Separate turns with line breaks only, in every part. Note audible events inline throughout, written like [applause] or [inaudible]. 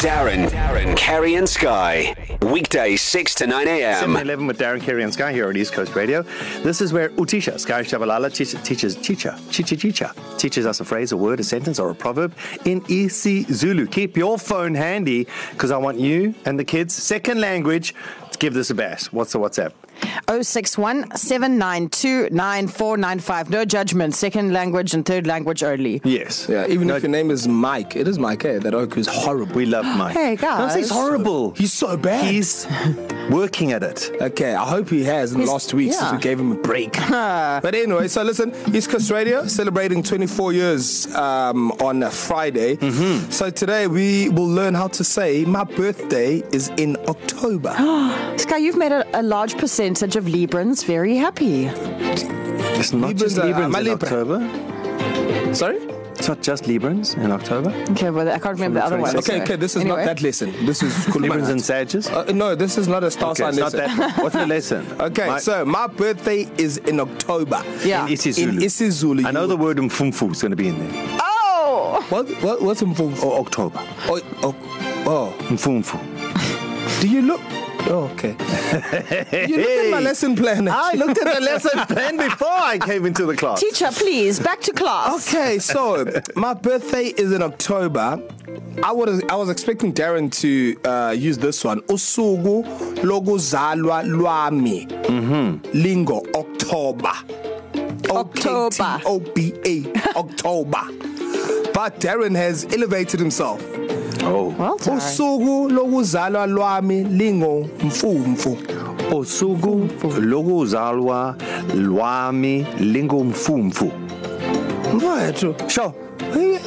Darren, Darren, Kerry and Sky. Weekdays 6 to 9
7
a.m.
11 with Darren Carey and Sky here on East Coast Radio. This is where Utisha, Sky Shabalala, teaches, teaches, teacher, chicha, chicha, teaches us a phrase, a word, a sentence, or a proverb in Isi Zulu. Keep your phone handy because I want you and the kids' second language to give this a bash. What's the WhatsApp?
061 792 9495. No judgment. Second language and third language only. [gasps]
Yes.
Yeah, even
no,
if your name is Mike, it is Mike. Eh? That oak is horrible.
we love Mike.
[gasps] Hey,
Don't say
guys.
he's horrible.
He's so
[laughs]
bad.
He's working at it.
Okay, I hope he has in the
He's-
last week since
yeah.
we gave him a
[laughs]
break. but anyway, so listen, East Coast Radio celebrating 24 years um, on a Friday. Mm-hmm. So today we will learn how to say my birthday is in
[gasps]
October.
Sky, you've made a, a large percentage of Librans very happy.
It's not
Librans
just
are-
Librans
I'm a
in
Libra.
October.
Sorry?
It's not just Librans in October.
Okay, well, I can't remember the other one.
That's
Okay, okay, this is anyway. not that lesson.
[laughs]
This is
Librans and Sages.
Uh, no, this is not a star
Okay,
sign
it's not
lesson.
that. What's the lesson?
[laughs] Okay,
My-
my, so my birthday is in October.
Yeah.
In isiZulu.
In isiZulu,
I know
you-
the word mfumfu is going to be in there.
Oh!
What, what, what's involved?
Or October.
Oh, oh, oh,
Mfumfu.
do you look? Oh, okay. you look at my lesson plan.
I looked at the lesson plan before I came into the class.
Teacher, please, back to class.
[laughs] Okay, so my birthday is in October. I was I was expecting Darren to uh, use this one. Usugu lokuzalwa lwami. Mhm.
Mm-hmm.
Lingo October.
October.
O B A October. But Darren has elevated himself.
Oh.
Well done.
Usugu lokuzalwa lwami lingo mfumfu.
Osugu lokuzalwa lwami lingo mfumfu.
Mfethu.
Sure.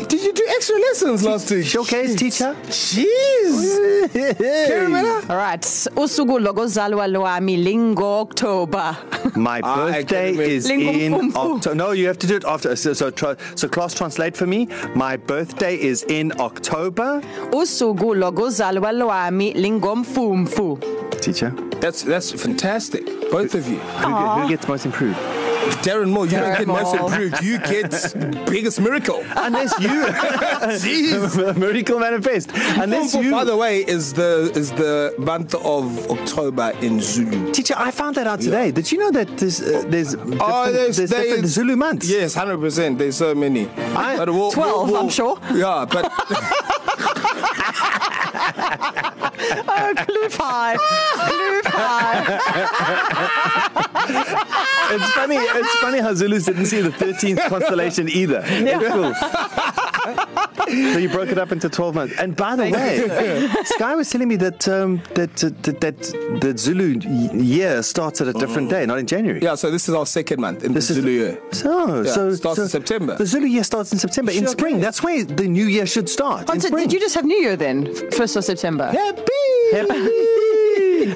Did you do extra lessons last week?
Showcase, teacher. Oh,
Jeez. Carolina?
All right. Usugu logozalwa loami lingo October. [laughs]
My
Ah,
birthday
academic.
is
Lingo
in
mfumfu.
October. No, you have to do it after. So, so, tra- so class, translate for me. My birthday is in October.
Usugu logozalwa loami lingo
[laughs]
mfumfu.
Teacher.
That's that's fantastic. Both of you.
Who, who gets most improved?
Darren Moore, you don't
Darren
get most
Moore.
improved.
[laughs]
You get biggest miracle.
Unless
[laughs]
you. [laughs] Jeez. Miracle manifest. Unless you.
Oh, By the way, is the is the month of October in Zulu.
Teacher, I found that out today. Yeah. Did you know that there's uh, there's, oh, there's, there's
they-
different Zulu months?
Yes, hundred percent. There's so many.
I-
we'll,
12, I'm sure.
Yeah, but
[laughs]
Oh, blue
[laughs]
pie. Blue pie.
[laughs] It's funny. It's funny how Zulus didn't see the
[laughs]
13th constellation either. Yeah. It's cool. so you broke it up into 12 months. And by the way, [laughs] Sky was telling me that um, that, that that that Zulu y- year starts at a different day, not in January.
Mm. yeah. So this is our second month in
This
the
is
Zulu year.
So,
Yeah,
so
it starts
so
in September.
The Zulu year starts in September in
Sure
spring.
does.
That's where the new year should start. in
Concert,
spring.
Oh, did you just have New Year then? 1st of September? [laughs]
Happy.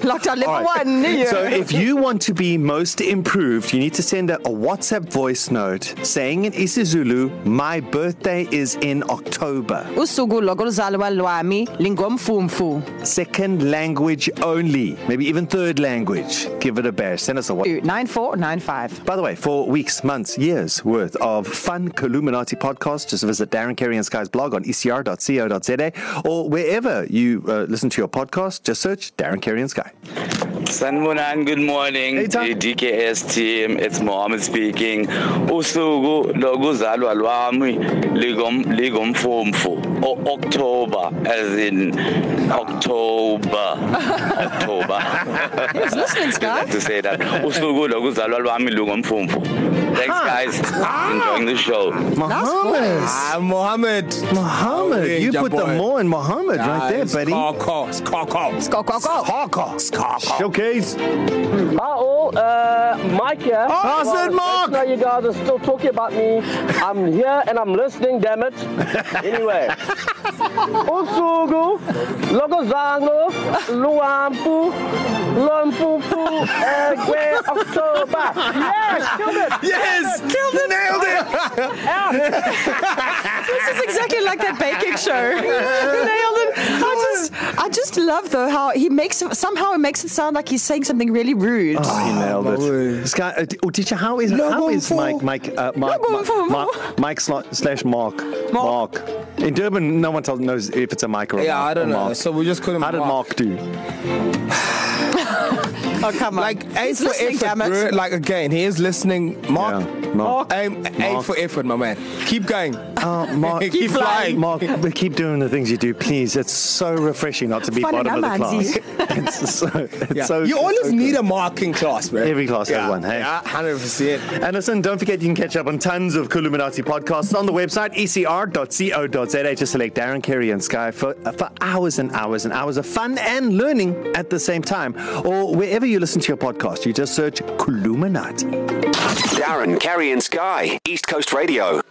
Lockdown level
All
right.
right.
one, New Year.
So if you want to be most improved, you need to send a, a WhatsApp voice note saying in isiZulu, "My birthday is in October."
Usugu logozalwa loami lingo mfumfu.
Second language only, maybe even third language. Give it a bash. Send us a WhatsApp.
9495.
By the way, for weeks, months, years worth of fun Columinati podcasts, just visit Darren Carey and Sky's blog on E ecr.co.za or wherever you uh, listen to your podcast, just search Darren Carey and Sky.
Sanibonani, good morning.
Hey, Tom.
the DKS team, it's Mohammed speaking. Usuku lokuzalwa lwami ligom ligomfumfu o October as in October. October.
Who's listening,
I
Sky?
have to say that. Usuku lokuzalwa lwami ligomfumfu. Thanks guys. Enjoying the show.
Mohammed,
Ah, Mohammed.
Mohammed, you
Ninja
put the
boy.
more in Mohammed right there, buddy.
Call, call, call, call.
Go, go, go.
Hawkers. Showcase.
Hi all, uh, Mike here.
I said Mark.
Now you guys are still talking about me. I'm here and I'm listening, damn it. Anyway. Usugu, Logozango, Luampu, Lumpupu, Egwe, October. Yes, killed it.
Yes, killed it. Nailed it.
This is exactly like that baking show. Nailed it. I just, I I just love though how he makes somehow it makes it sound like he's saying something really rude.
Ah,
Oh, he nailed
my
it.
word.
This guy, uh, d- oh, teacher, how is
Logo
how is
for-
Mike Mike uh, Mike
Logo
Mike,
for-
Mike, Mike sla- slash Mark Mark in Durban? No one tells, knows if it's a Mike or a
Yeah,
Mark,
I don't
or
know.
Mark.
So we just call him
how did Mark do?
Oh come on!
Like A
He's
for
listening,
effort,
damn it.
bro. Like again, he is listening. Mark,
Yeah, Mark.
Aim, A
Mark.
for effort, my man. Keep going.
Uh,
[laughs]
Oh, Mark,
Keep Keep flying.
Mark, but keep doing the things you do, please. It's so refreshing not to be
Fun
bottom of the
enough,
class.
Anzi.
[laughs]
it's so, it's
Yeah.
so.
you
it's
always
so
need
good.
a marking class, man.
Every class has
yeah.
one, hey?
Yeah, hundred percent.
And listen, don't forget you can catch up on tons of Columinati podcasts on the website E ecr.co.za. Just select Darren, Kerry, and Sky for, for hours and hours and hours of fun and learning at the same time. Or wherever you listen to your podcast, you just search Columinati.
Darren, Carrie, and Sky, East Coast Radio.